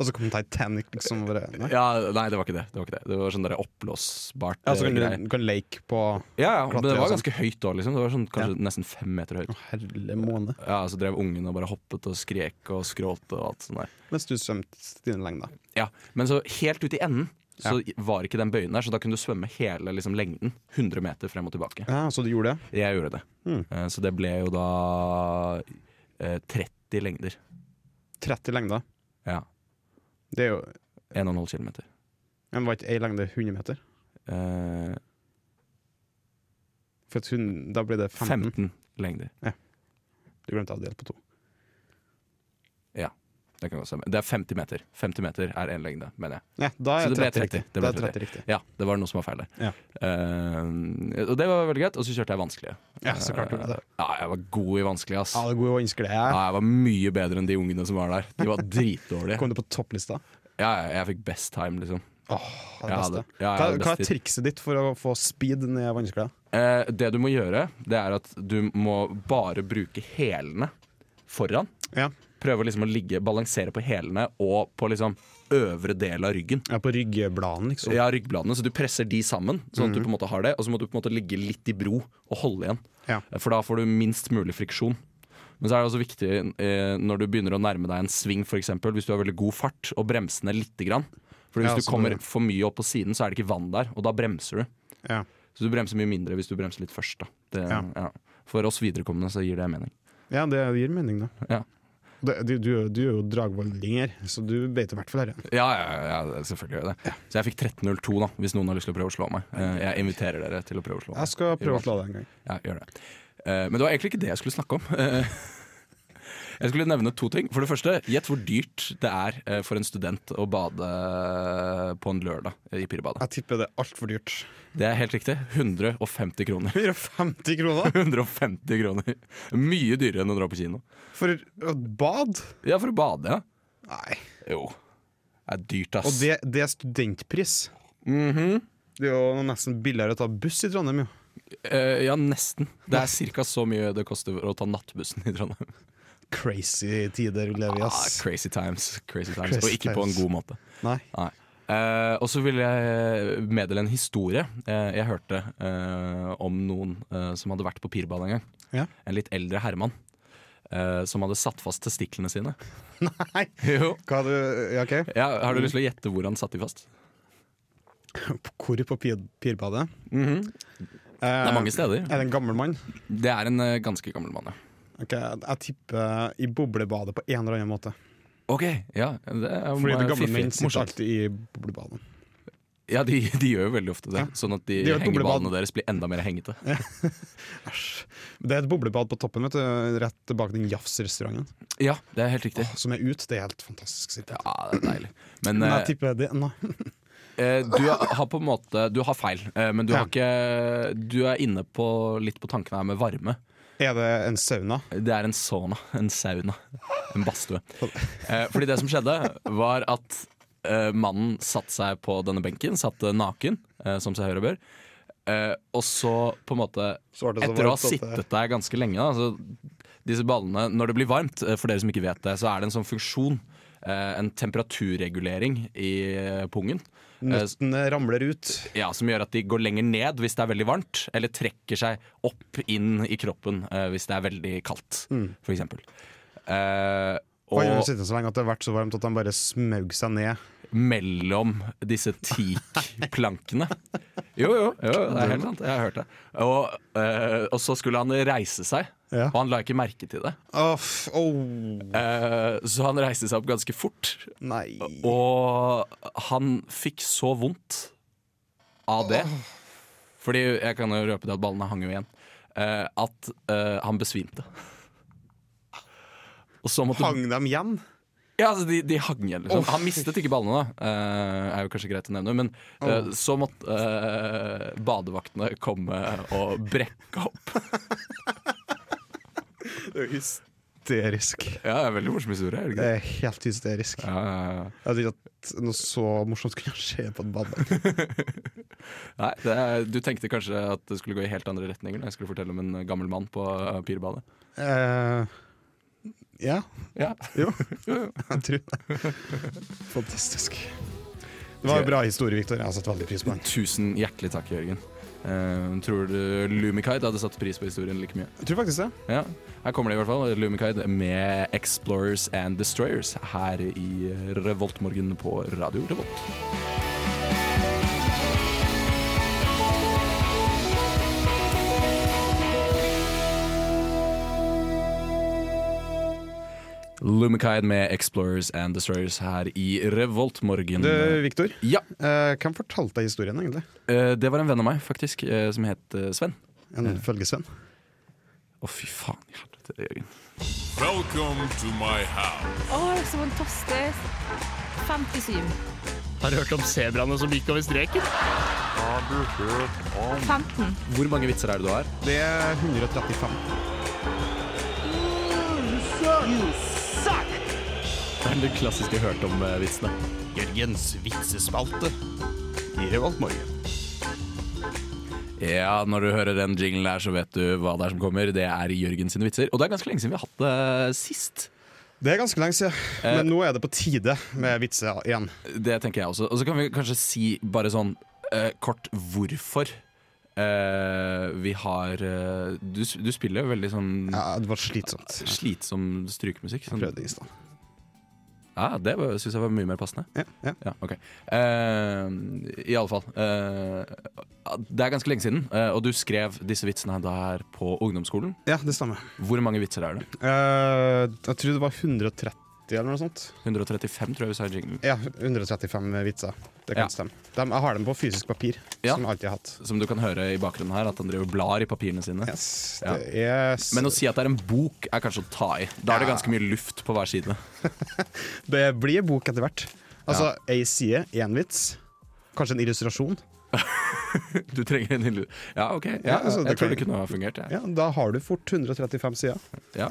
S4: Og så kom Titanic, liksom. og Bare, nei.
S2: *laughs* ja, nei, det var ikke det. Det var, ikke det. Det var sånn der oppblåsbart
S4: Ja, så kan
S2: eh,
S4: du kan leke på
S2: Ja, ja, men det
S4: klatre og
S2: var
S4: sånn.
S2: ganske høyt da, liksom. Det var sånn, kanskje nesten fem meter høyt.
S4: Å, herre måne.
S2: Ja, så drev ungen og bare hoppet og skrek og skrålte og alt sånt der.
S4: Mens du svømte dine lengder.
S2: Ja, Men så helt ut i enden så var ikke den bøyen der, så da kunne du svømme hele liksom, lengden. 100 meter frem og tilbake.
S4: Ja, så du gjorde det?
S2: Jeg gjorde det.
S4: Mm.
S2: Eh, Så det ble jo da eh, 30 lengder.
S4: 30 lengder.
S2: Ja.
S4: Det er jo
S2: 1,5 km.
S4: Men var ikke ei lengde 100 meter?
S2: Eh,
S4: For at hun, da blir det 15.
S2: 15 lengder.
S4: Du glemte å dele på to.
S2: Det, kan godt stemme. det er 50 meter. 50 meter er én lengde, mener jeg.
S4: Ah, Ja, da er
S2: Så det ble
S4: 30
S2: 30.
S4: riktig.
S2: Det ble
S4: Da er 30 riktig.
S2: Ja, det var noe som var feil der.
S4: Ja.
S2: Eh, og det var veldig greit. Og så kjørte jeg vanskelige.
S4: Ja, så klart du gjorde det.
S2: Ja, jeg var god i vanskelig, ass.
S4: Ja, det er gode ønsker, det.
S2: Ja, jeg var mye bedre enn de ungene som var der. De
S4: *laughs*
S2: var dritdårlige.
S4: Kom du på topplista?
S2: Ja, ja, jeg fikk best time, liksom. Ja,
S4: Det beste.
S2: det- ja,
S4: hva,
S2: ja, det
S4: hva
S2: beste.
S4: er trikset ditt for å få speed ned vannsklær?
S2: Eh, det du må gjøre, det er at du må bare bruke hælene foran.
S4: Ja.
S2: prøve liksom å ligge, balansere på hælene og på liksom øvre del av ryggen.
S4: Ja, på ryggbladene, liksom.
S2: Ja, ryggbladene, så du presser de sammen, sånn
S4: Mhm.
S2: at du på en måte har det. Og så må du på en måte ligge litt i bro og holde igjen. Eh,
S4: Ja.
S2: For da får du minst mulig friksjon. Men så er det også viktig eh, når du begynner å nærme deg en sving, for eksempel, hvis du har veldig god fart, og bremse ned lite grann. For hvis
S4: Ja,
S2: du
S4: så
S2: kommer
S4: det-
S2: for mye opp på siden, så er det ikke vann der, og da bremser du.
S4: Ja.
S2: Så du bremser mye mindre hvis du bremser litt først. Da. Det, ja.
S4: Ja.
S2: For oss viderekommende så gir det mening.
S4: ja, det gir mening, da.
S2: Ja.
S4: Det, du, du, du er jo dragvoldinger, så du vet i hvert fall dette.
S2: Ja, ja, ja, ja, selvfølgelig gjør jeg det. Så jeg fikk 13.02, da, hvis noen har lyst til å prøve å slå meg. Eh, Jeg inviterer dere til å prøve å slå meg.
S4: Jeg skal prøve å slå deg en gang.
S2: Ja, gjør det. Eh, Men det var egentlig ikke det jeg skulle snakke om. Eh, *laughs* Jeg skulle nevne to ting. For det første, gjett hvor dyrt det er eh, for en student å bade på en lørdag eh, i Pirbadet.
S4: Jeg tipper det er
S2: *laughs*
S4: altfor dyrt.
S2: Det er helt riktig. 150 kroner. *laughs*
S4: 150 kroner
S2: 150 kroner. Mye dyrere enn å dra på kino.
S4: for et bad?
S2: Ja, for å bade, ja.
S4: Nei.
S2: Jo. Det er dyrt, ass.
S4: Og det, det er studentpris.
S2: Mhm.
S4: Det er jo nesten billigere å ta buss i Trondheim, jo.
S2: Eh, ja, nesten. Det er ca. så mye det koster å ta nattbussen i Trondheim.
S4: Crazy tider vi lever i,
S2: Ah,
S4: ass.
S2: crazy times. Crazy times.
S4: Crazy
S2: og ikke på en
S4: times.
S2: god måte.
S4: Nei.
S2: Nei. Eh, og så vil jeg eh, meddele en historie eh, jeg hørte eh, om noen eh, som hadde vært på pirbadet en gang.
S4: Ja.
S2: En litt eldre herremann eh, som hadde satt fast testiklene sine.
S4: *laughs* Nei.
S2: Jo.
S4: Hva har du Ja, OK.
S2: Ja, har du lyst til å gjette hvor han satte de fast?
S4: Hvor på pir- Pirbadet? Eh,
S2: Det er mange steder.
S4: Er det en gammel mann?
S2: Det er en eh, ganske gammel mann, ja.
S4: Ok, Jeg tipper i boblebadet på en eller annen måte.
S2: Ok, ja. Det er
S4: Fordi de gamle
S2: fiffig.
S4: menn sitter
S2: Morsomt.
S4: alltid i boblebadet.
S2: Ja, de, de gjør jo veldig ofte det.
S4: Ja.
S2: Sånn at de,
S4: De har et
S2: hengeballene
S4: boblebad.
S2: deres blir enda mer hengete.
S4: Det er et boblebad på toppen, vet du, rett bak den Jafs-restauranten.
S2: Ja, det er helt riktig.
S4: Som er ut, Det er helt fantastisk. sitt.
S2: Ja, det er deilig. Men,
S4: Men jeg
S2: eh,
S4: tipper det Nei.
S2: eh, du har på en måte Du har feil, eh, men du
S4: Ja.
S2: har ikke Du er inne på litt på tankene her med varme.
S4: Er det en sauna?
S2: Det er en sauna. En sauna. En badstue. Eh, Fordi det som skjedde, var at eh, mannen satte seg på denne benken, satt eh, naken, eh, som seg hør og bør. Eh, Og så på en måte
S4: Så var det så
S2: Etter å ha
S4: varmt at det-
S2: sittet der ganske lenge da, så Disse ballene, når det blir varmt, eh, for dere som ikke vet det, så er det en sånn funksjon. eh, En temperaturregulering i eh, pungen. Eh,
S4: Nøttene ramler ut.
S2: ja, Som gjør at de går lenger ned hvis det er veldig varmt, eller trekker seg opp inn i kroppen eh, hvis det er veldig kaldt, for eksempel. Eh,
S4: Og han har
S2: og
S4: sittet så lenge at det har vært så varmt at han bare smaug seg ned.
S2: mellom disse teakplankene Jo, jo, jo, det er helt sant. Jeg har hørt det. Og, eh, og så skulle han reise seg,
S4: Ja.
S2: og han la ikke merke til det.
S4: Uff, oh,
S2: Eh, så han reiste seg opp ganske fort,
S4: nei.
S2: og han fikk så vondt av det. Fordi jeg kan jo røpe det at ballene hang jo igjen. eh, at eh, han besvimte. Og så måtte
S4: Hang dem igjen?
S2: Ja, altså de, de hang igjen, liksom. Han mistet ikke ballene, da. Eh, er jo kanskje greit å nevne. Men eh, så måtte eh, badevaktene komme og brekke opp.
S4: Hysterisk.
S2: *laughs* Ja, det er veldig morsom historie. Er det
S4: Det
S2: ikke det?
S4: er helt hysterisk.
S2: Ja, ja, ja.
S4: Jeg hadde ikke at noe så morsomt kunne skje på et bad.
S2: Nei, det er, Du tenkte kanskje at det skulle gå i helt andre retninger når jeg skulle fortelle om en gammel mann på eh, pirbadet. *laughs*
S4: Eh, ja,
S2: Ja.
S4: *laughs* jo. Jeg tror det. Fantastisk. Det var en bra historie, Victor. Jeg har satt veldig pris på den.
S2: Tusen hjertelig takk, Jørgen. Eh, tror du Lumikide hadde satt pris på historien like mye?
S4: Jeg tror faktisk det.
S2: Ja, Her kommer det i hvert fall. Lumikide med 'Explorers and Destroyers' her i Revoltmorgen på Radio Revolt. Lumikide med 'Explorers and Destroyers' her i Revoltmorgen.
S4: Du, Mm. Victor,
S2: Ja,
S4: eh, hvem fortalte deg historien, egentlig?
S2: eh, det var en venn av meg, faktisk, eh, som het eh, Sven.
S4: En følgesvenn?
S2: Å, fy faen i helvete, Jørgen.
S10: Welcome to my house.
S11: så fantastisk. 57.
S10: Har du hørt om sebraene som gikk over streken?
S11: 15.
S2: Hvor mange vitser er det du har?
S4: Det er 135.
S2: Det er den klassiske hørt om-vitsene.
S10: Jørgens vitsespalte.
S4: I Revolt Morgen.
S2: Ja, når du hører den jinglen der, så vet du hva det er som kommer. Det er Jørgen sine vitser. Og det er ganske lenge siden vi har hatt det eh, sist.
S4: Det er ganske lenge siden, men nå er det på tide med vitser igjen.
S2: Det tenker jeg også. Og så kan vi kanskje si bare sånn eh, kort hvorfor eh, vi har eh, du, s- du spiller jo veldig sånn
S4: Ja, det var Mm. slitsomt.
S2: slitsom strykemusikk. Sånn.
S4: Prøvde i stad.
S2: Ja, det syns jeg var mye mer passende.
S4: Ja, ja.
S2: Ja, ok. Eh, I alle fall. eh, det er ganske lenge siden, eh, og du skrev disse vitsene der på ungdomsskolen.
S4: ja, det stemmer.
S2: Hvor mange vitser er det?
S4: Eh, jeg tror det var 130 eller noe sånt.
S2: 135, tror jeg vi sa i jinglen.
S4: Ja, 135 vitser. Det kan
S2: Ja.
S4: stemme. Dem- jeg har dem på fysisk papir,
S2: Ja.
S4: som jeg alltid har hatt.
S2: Som du kan høre i bakgrunnen her, at han driver og blar i papirene sine.
S4: Yes,
S2: Ja.
S4: det er, s-
S2: Men å si at det er en bok, er kanskje å ta i. Da er det ganske mye luft på hver side. *laughs*
S4: det blir bok etter hvert. Altså ei side, én vits. Kanskje en illustrasjon.
S2: Du trenger en lille Ja, OK. Ja,
S4: Ja, altså,
S2: jeg
S4: det
S2: tror
S4: kan-
S2: det kunne ha fungert. jeg.
S4: Ja, da har du fort 135 sider.
S2: Ja.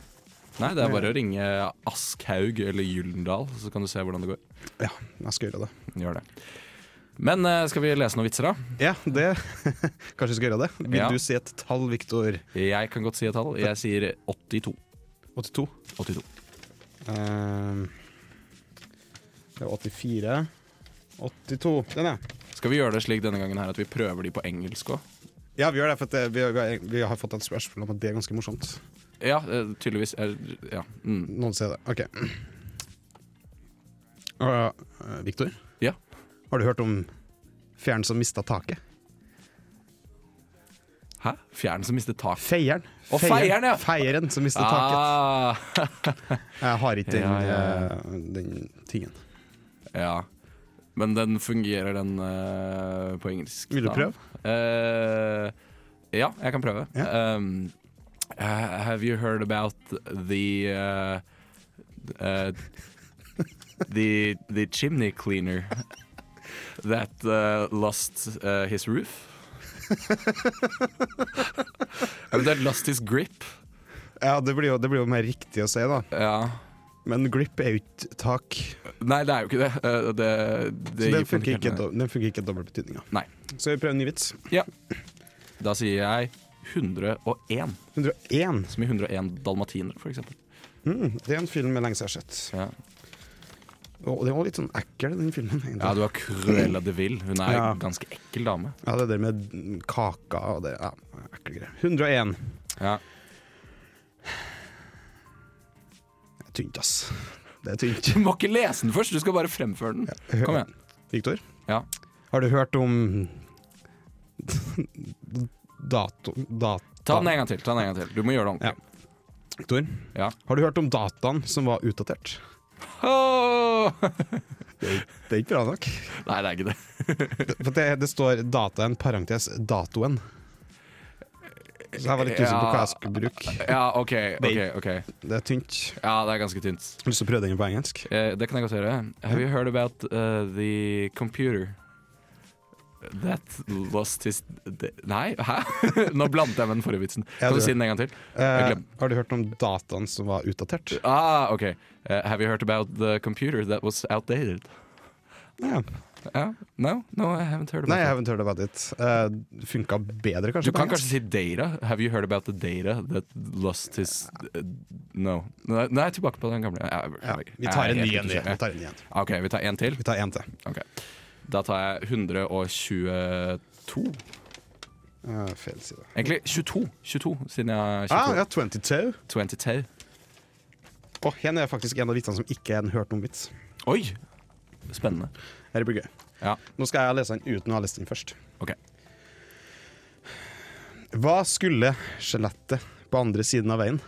S2: Nei, det er bare å ringe Aschhaug eller Gyldendal, så kan du se hvordan det går.
S4: Ja, jeg skal gjøre det.
S2: Gjør det. Men eh, skal vi lese noen vitser, da?
S4: Ja, det *laughs* Kanskje vi skal gjøre det? Vil
S2: Ja.
S4: du si et tall, Viktor?
S2: Jeg kan godt si et tall. Jeg sier 82.
S4: 82.
S2: 82.
S4: Ehm, det var 84 82. Den er.
S2: Skal vi gjøre det slik denne gangen her at vi prøver de på engelsk òg?
S4: Ja, vi gjør det, for at det, vi, vi, har, vi har fått et spørsmål om at det er ganske morsomt.
S2: Ja, eh, tydeligvis. Er, ja. Mm.
S4: Noen sier det. OK. *clears throat* Uh, Viktor,
S2: ja.
S4: har du hørt om fjæren som mista taket?
S2: Hæ? Fjern som mistet tak.
S4: Feieren.
S2: Å, feieren, ja.
S4: Feieren som mista taket.
S2: Ah,
S4: Jeg har ikke den,
S2: Ja, ja,
S4: eh, den tingen.
S2: ja. Men den fungerer, den eh, på engelsk.
S4: Vil du
S2: da?
S4: prøve?
S2: Eh, ja, jeg kan prøve. Um, uh, have you heard about the uh, uh, the the chimney cleaner that uh, lost uh, his roof? Eventuelt lost his grip.
S4: Ja, det blir, jo, det blir jo mer riktig å si, da.
S2: Ja.
S4: Men grip er jo ikke tak.
S2: Nei, det er jo ikke det. Uh, det, det
S4: Så
S2: gir
S4: den funker ikke,
S2: kommunikert-
S4: do- den funker ikke i dobbeltbetydninga.
S2: Nei.
S4: Så vi prøver en ny vits.
S2: Ja. Da sier jeg 101,
S4: 101.
S2: som i 101 dalmatinere, for eksempel.
S4: Mm, det er en film jeg lenge siden har sett.
S2: Ja.
S4: Og det var litt sånn ekkel, den filmen. egentlig.
S2: Ja, du har Cruella de Vil. Hun er
S4: Ja.
S2: en ganske ekkel dame.
S4: Ja, det der med kaka og det ja, ekle greier. 101.
S2: Ja.
S4: Det er tynt, ass. Det er tynt.
S2: Du må ikke lese den først, du skal bare fremføre den. Kom igjen.
S4: Viktor,
S2: Ja.
S4: har du hørt om *laughs* dato... Dat
S2: Ta den en gang til. ta den en gang til Du må gjøre det
S4: Ja.
S2: ordentlig.
S4: Viktor,
S2: Ja.
S4: har du hørt om dataen som var utdatert?
S2: Åh!
S4: Det er ikke bra nok.
S2: *laughs* Nei, det er ikke det.
S4: For det, det står dataen, parentes, datoen. Så jeg var litt usikker på hva jeg skulle bruke.
S2: Ja, OK. ok, ok
S4: Det er tynt.
S2: Ja, det er ganske tynt.
S4: Har du lyst til å prøve den på engelsk?
S2: Eh, det kan jeg godt gjøre. Have you heard about uh, the computer that lost his de Nei, hæ? *laughs* Nå blandet jeg med den forrige vitsen.
S4: Ja,
S2: Kan
S4: du-
S2: du si den en gang til?
S4: Eh,
S2: glem-
S4: har du hørt om dataen som var utdatert?
S2: Ah, OK. Eh, have you heard about the computer that was outdated?
S4: Ja.
S2: Ja, No, no, I haven't heard about
S4: Nei,
S2: it.
S4: jeg har ikke hørt about it. Uh, funka bedre,
S2: Du
S4: kanskje?
S2: kan
S4: på engelsk?
S2: kanskje si data. Have you heard about the data that lost his uh, No. Nei, nei, tilbake på den gamle. Ja,
S4: ja, Vi tar
S2: jeg er
S4: en
S2: helt
S4: ny en, vi. Vi
S2: interessert.
S4: tar en, ny en.
S2: OK, vi tar en til?
S4: Vi tar en til.
S2: Ok. Da tar jeg 122.
S4: Eh, feil side.
S2: Egentlig 22, 22 siden jeg har 22.
S4: Ah, ja, 22.
S2: 22.
S4: Og her er faktisk en av vitsene som ikke er en hørt noen vits.
S2: Oi! Spennende.
S4: Her blir gøy.
S2: Ja,
S4: Nå skal jeg lese den uten å ha lest den først.
S2: OK.
S4: Hva skulle skjelettet på andre siden av veien?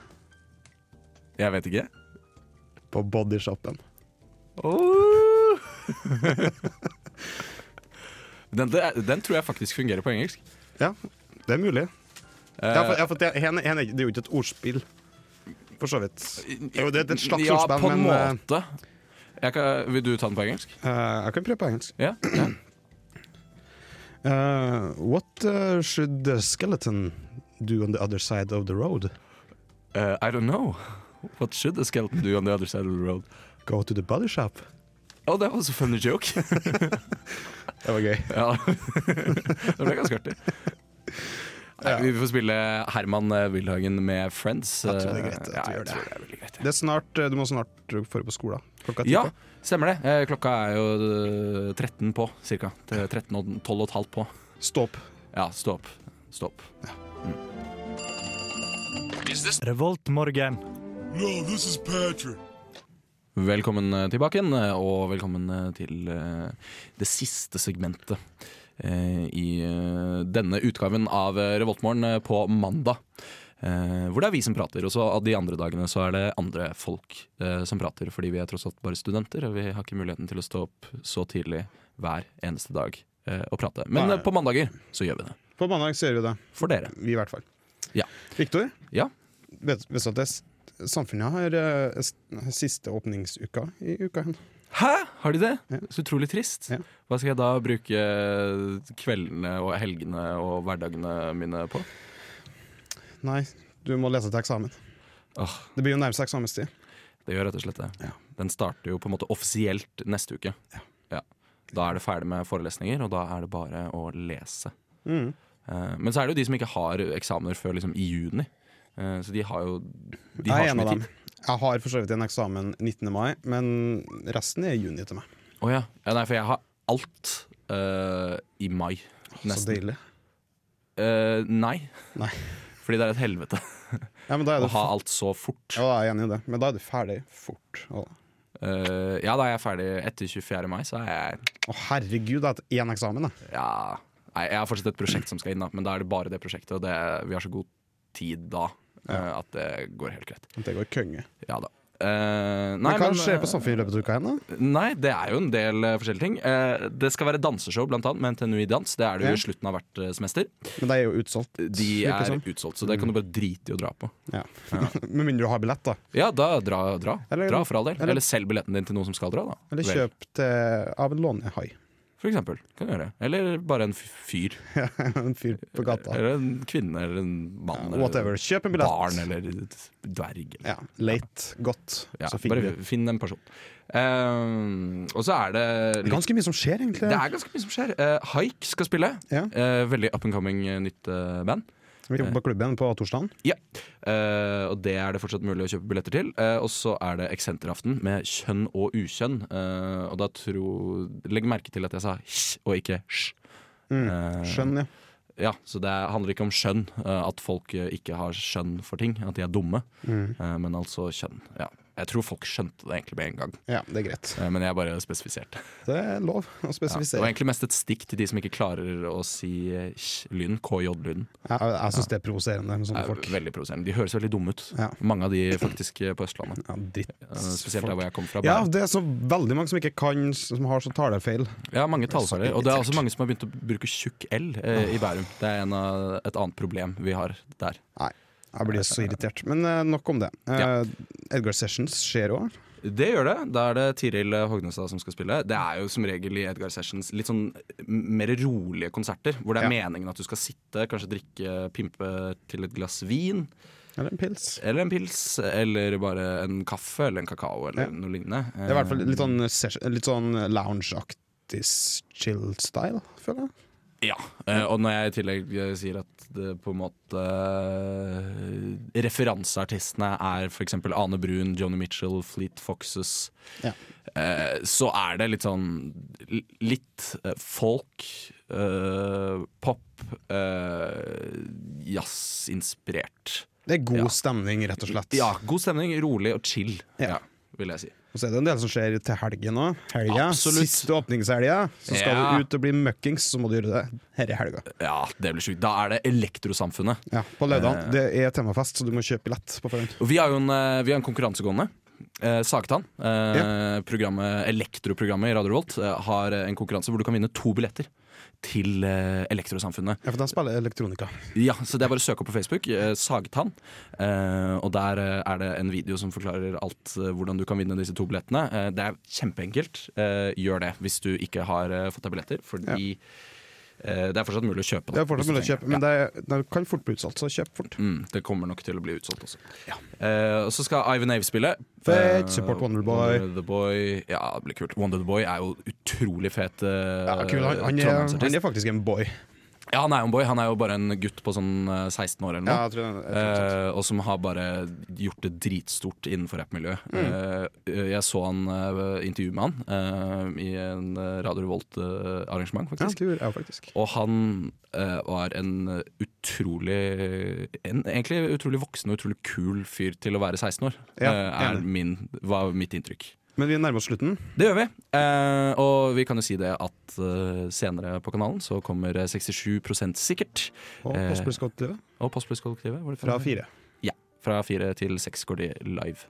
S2: Jeg vet ikke.
S4: På bodyshopen. *laughs*
S2: Oh. den, det- den tror jeg faktisk fungerer på engelsk.
S4: Ja, det er mulig. Ja, for, ja, for det, hen, hen, er- det er jo ikke et ordspill, for så vidt. Jo, det, det er et slags
S2: ja,
S4: ordspill,
S2: på en
S4: men eh,
S2: måte. Jeg kan, vil du ta den på engelsk?
S4: eh, jeg kan prøve på engelsk.
S2: Ja.
S4: *clears throat*
S2: ja.
S4: Uh, what uh, should the skeleton do on the other side of the road?
S2: Uh, I don't know. What should a skeleton do on the other side of the road?
S4: Go to the body shop?
S2: Oh, that was a funny joke.
S4: Det var gøy.
S2: *laughs* ja. det ble ganske artig. Nei, vi får spille Herman eh, Wilhagen med Friends. Eh,
S4: Jeg tror det er greit. Jeg
S2: Ja,
S4: tror
S2: jeg
S4: det.
S2: tror det er veldig greit.
S4: Det er snart, eh, du må snart forberede på skolen. Klokka ti.
S2: Ja, stemmer det. Eh, Klokka er jo eh, 13 på, cirka. Det er 13 og 12 og et halvt på.
S4: Stå opp.
S2: Ja, stå opp. Stå opp.
S1: Revoltmorgen.
S10: No, this is Patrick.
S2: Velkommen eh, tilbake igjen, eh, og velkommen eh, til eh, det siste segmentet eh, i eh, denne utgaven av eh, Revoltmorgen eh, på mandag. Eh, hvor det er vi som prater, og så av de andre dagene så er det andre folk eh, som prater. Fordi vi er tross alt bare studenter, og vi har ikke muligheten til å stå opp så tidlig hver eneste dag eh, og prate. Men
S4: Nei.
S2: eh, på mandager så gjør vi det.
S4: På mandag ser vi det.
S2: For dere.
S4: Vi i hvert fall.
S2: Ja.
S4: Viktor,
S2: Ja.
S4: vet vet du at det, s- samfunnet har eh, s- siste åpningsuka i uka? hen?
S2: Hæ? Har de det? Så utrolig trist.
S4: Ja.
S2: Hva skal jeg da bruke eh, kveldene og helgene og hverdagene mine på?
S4: Nei, du må lese til eksamen.
S2: Åh.
S4: Det begynner å nærme seg eksamenstid.
S2: Det gjør rett og slett det.
S4: Ja.
S2: Den starter jo på en måte offisielt neste uke. Ja. Da er det ferdig med forelesninger, og da er det bare å lese.
S4: Mm.
S2: Eh, men så er det jo de som ikke har eksamener før liksom i juni. Eh, så de har jo de
S4: jeg
S2: har
S4: er
S2: så
S4: en
S2: mye
S4: av dem.
S2: tid.
S4: Jeg har for så vidt en eksamen 19. mai, men resten er i juni til meg.
S2: Å ja. ja. Nei, for jeg har alt eh, i mai.
S4: Så
S2: Nesten.
S4: deilig.
S2: Eh, nei.
S4: Nei.
S2: Fordi det er et helvete
S4: Ja, men da er
S2: å
S4: du,
S2: ha
S4: f-
S2: alt så fort.
S4: ja, da er jeg enig i det, men da er du ferdig fort. Å,
S2: Eh, ja, da er jeg ferdig etter 24. mai, så er jeg
S4: Å, herregud, jeg har hatt én eksamen, jeg.
S2: Ja Nei, jeg har fortsatt et prosjekt som skal inn, da, men da er det bare det prosjektet. Og det, vi har så god tid da eh, at det går helt greit.
S4: Det går konge.
S2: Ja da. Eh, nei,
S4: Men hva
S2: men,
S4: skjer
S2: eh,
S4: på Samfunnet i løpet av uka igjen, da?
S2: Nei, det er jo en del eh, forskjellige ting. Eh, det skal være danseshow blant annet med NTNU i dans. Det er det jo i slutten av hvert eh, semester.
S4: Men det er jo utsolgt.
S2: De
S4: virker
S2: er
S4: som.
S2: utsolgt, så det
S4: Mm.
S2: kan du bare drite i å dra på.
S4: Ja. *laughs* Med mindre du har billett, da.
S2: Ja, da dra, dra.
S4: Eller-
S2: dra for all del.
S4: eller-
S2: Eller selg billetten din til noen som skal dra, da.
S4: Eller
S2: Vel,
S4: kjøp til, av en lånehai. *laughs*
S2: For eksempel. Kan du gjøre. Eller bare en f- fyr.
S4: en fyr på gata.
S2: Eller en kvinne eller en mann. eller
S4: Whatever. Kjøp en billett.
S2: Eh, Barn eller et dverg. Eller.
S4: Ja. Late. Godt.
S2: Ja,
S4: så fikk
S2: bare
S4: vi
S2: finn en person. Eh, og så er det
S4: Det er
S2: litt,
S4: ganske mye som skjer, egentlig.
S2: Det er ganske mye som skjer. Eh, Haik skal spille.
S4: Ja.
S2: Eh, veldig up and coming eh, nytt eh, band.
S4: Vi jobber på klubben på torsdagen.
S2: Ja. Eh, og det er det fortsatt mulig å kjøpe billetter til. Eh, og så er det Eksenteraften med kjønn og ukjønn. Eh, og da tro Legg merke til at jeg sa hj og ikke sj. Eh,
S4: Mm. Skjønn, ja.
S2: ja, så det handler ikke om skjønn, eh, at folk eh, ikke har skjønn for ting, at de er dumme,
S4: Mm.
S2: Eh, men altså kjønn. Ja. Jeg tror folk skjønte det egentlig med en gang,
S4: Ja, det er greit.
S2: eh, men jeg bare
S4: *laughs*
S2: spesifiserte.
S4: Det er lov å
S2: Ja. Det var
S4: spesifisere.
S2: egentlig mest et stikk til de som ikke klarer å si eh, kj- lyden, KJ-lyden.
S4: Jeg, jeg syns det er provoserende med sånne
S2: er
S4: folk.
S2: Veldig provoserende. De høres veldig dumme ut.
S4: Ja.
S2: Mange av de faktisk eh, på Østlandet.
S4: Ja,
S2: Eh, Spesielt der hvor
S4: drittfolk.
S2: jeg kommer fra.
S4: Ja,
S2: Bærum.
S4: det er så veldig mange som ikke kan, som har så talefeil.
S2: ja, mange tallfeiler. Og det er også mange som har begynt å bruke tjukk L eh, i Bærum. Det er en av, et annet problem vi har der.
S4: Jeg blir så irritert. Men eh, nok om det. Eh,
S2: Ja.
S4: Edgar Sessions skjer òg.
S2: Det gjør det. Da er det Tiril Hognestad som skal spille. Det er jo som regel i Edgar Sessions litt sånn mer rolige konserter, hvor det er meningen at du skal sitte, kanskje drikke, pimpe til et glass vin,
S4: Eller en pils.
S2: eller en pils, eller bare en kaffe, eller en kakao, eller
S4: Ja.
S2: noe lignende. Eh,
S4: Det er i hvert fall litt sånn, ses- litt sånn lounge-aktig chill-style, føler jeg.
S2: Ja, eh, og når jeg i tillegg eh, sier at det på en måte eh, Referanseartistene er f.eks. Ane Brun, Joni Mitchell, Fleet Foxes.
S4: Ja.
S2: eh, Så er det litt sånn l- litt eh, folk, eh, pop, eh, jazzinspirert.
S4: Det er god
S2: Ja.
S4: stemning, rett og slett.
S2: Ja, god stemning, rolig og chill,
S4: Ja.
S2: ja, vil jeg si.
S4: Og så er det en del som skjer til helgen òg. Helga.
S2: Absolutt.
S4: Siste åpningshelga. Så skal
S2: Ja.
S4: du ut og bli møkkings, så må du gjøre det her i helga.
S2: Ja, det blir sjukt. Da er det Elektrosamfunnet.
S4: Ja, på
S2: Eh.
S4: Løvdan. Det er temafest, så du må kjøpe billett på forhånd.
S2: Og vi har jo en, eh, vi har en konkurranse gående. Eh, Sagtann, eh, programmet- elektroprogrammet i Radio Revolt, eh, har eh, en konkurranse hvor du kan vinne to billetter til eh, Elektrosamfunnet.
S4: Ja, for de spiller elektronika.
S2: Ja, så det er bare å søke opp på Facebook. Eh, Sagtann. Eh, og der eh, er det en video som forklarer alt eh, hvordan du kan vinne disse to billettene. Eh, det er kjempeenkelt. Eh, gjør det hvis du ikke har eh, fått deg billetter, fordi eh, det er fortsatt mulig å kjøpe. da,
S4: Det er
S2: hvis
S4: fortsatt
S2: du
S4: mulig å
S2: trenger
S4: kjøpe, men det, er, det kan fort bli utsolgt, så kjøp fort.
S2: Mm, det kommer nok til å bli utsolgt også. Eh, og så skal Ivan Ave spille.
S4: Fett,
S2: Eh,
S4: support Wonderboy.
S2: Wonder the Boy. Ja, det blir kult. Wonder the Boy er jo utrolig fet. eh,
S4: Ja, kul. Han, han, er,
S2: Trondheimsartist.
S4: han er faktisk en boy.
S2: Ja, han er jo en boy. Han er jo bare en gutt på sånn eh, 16 år eller noe.
S4: Ja, jeg tror det- jeg tror det er
S2: Eh, og som har bare gjort det dritstort innenfor rappmiljøet.
S4: Mm.
S2: Eh, jeg så han eh, intervju med han eh, i en eh, Radio Revolt-arrangement,
S4: Ja,
S2: faktisk.
S4: det gjorde jeg faktisk.
S2: Og han eh, var en eh, utrolig en, Egentlig utrolig voksen og utrolig kul fyr til å være 16 år.
S4: Ja,
S2: eh, er
S4: enig.
S2: min, var mitt inntrykk.
S4: Men vi nærmer oss slutten.
S2: Det gjør vi. Eh, og vi kan jo si det at eh, senere på kanalen så kommer eh, 67 sikkert.
S4: Og
S2: Eh,
S4: Postbluss godt livet.
S2: og Postbluss-kollektivet. var det
S4: Fra fire.
S2: Ja. Fra fire til seks går de live,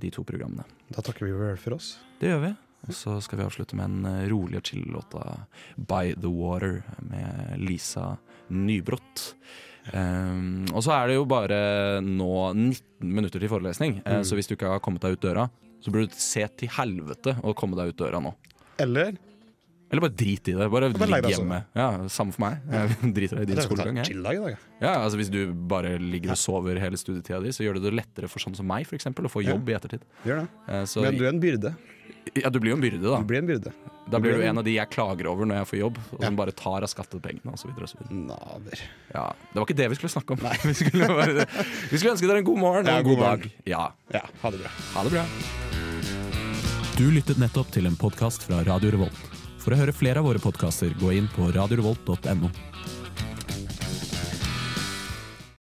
S2: de to programmene.
S4: Da takker vi vel for oss.
S2: Det gjør vi. Og så skal vi avslutte med en eh, rolig og chill låt av By The Water med Lisa Nybrott. Um, og så er det jo bare nå 19 minutter til forelesning, eh,
S4: Mm.
S2: så hvis du ikke har kommet deg ut døra, så burde du se til helvete å komme deg ut døra nå.
S4: Eller
S2: Eller bare drit i det. Bare
S4: bare legg
S2: ligg
S4: deg sånn. og sove.
S2: hjemme. Ja, Samme for meg. Jeg *laughs* driter i din skolegang. Jeg.
S4: Chill-dag i dag.
S2: Ja, altså Hvis du bare ligger og sover hele studietida di, så gjør det det lettere for sånn som meg for eksempel, å få
S4: Ja.
S2: jobb i ettertid.
S4: Gjør det.
S2: Eh, Så,
S4: Men du er en byrde.
S2: ja, du blir jo en byrde, da.
S4: Du blir en byrde.
S2: Da
S4: du
S2: blir
S4: blir
S2: du
S4: en-
S2: en av de jeg klager over når jeg får jobb, og som
S4: Ja.
S2: bare tar av skattepengene osv.
S4: Naver.
S2: Ja, det var ikke det vi skulle snakke om. *laughs* vi, skulle bare, vi skulle ønske dere en god morgen og
S4: Ja,
S2: en
S4: god
S2: god dag.
S4: morgen.
S2: Ja,
S4: Ja, ha det bra.
S2: Ha det bra.
S12: Du lyttet nettopp til en podkast fra Radio Revolt. For å høre flere av våre podkaster, gå inn på radiorevolt.no.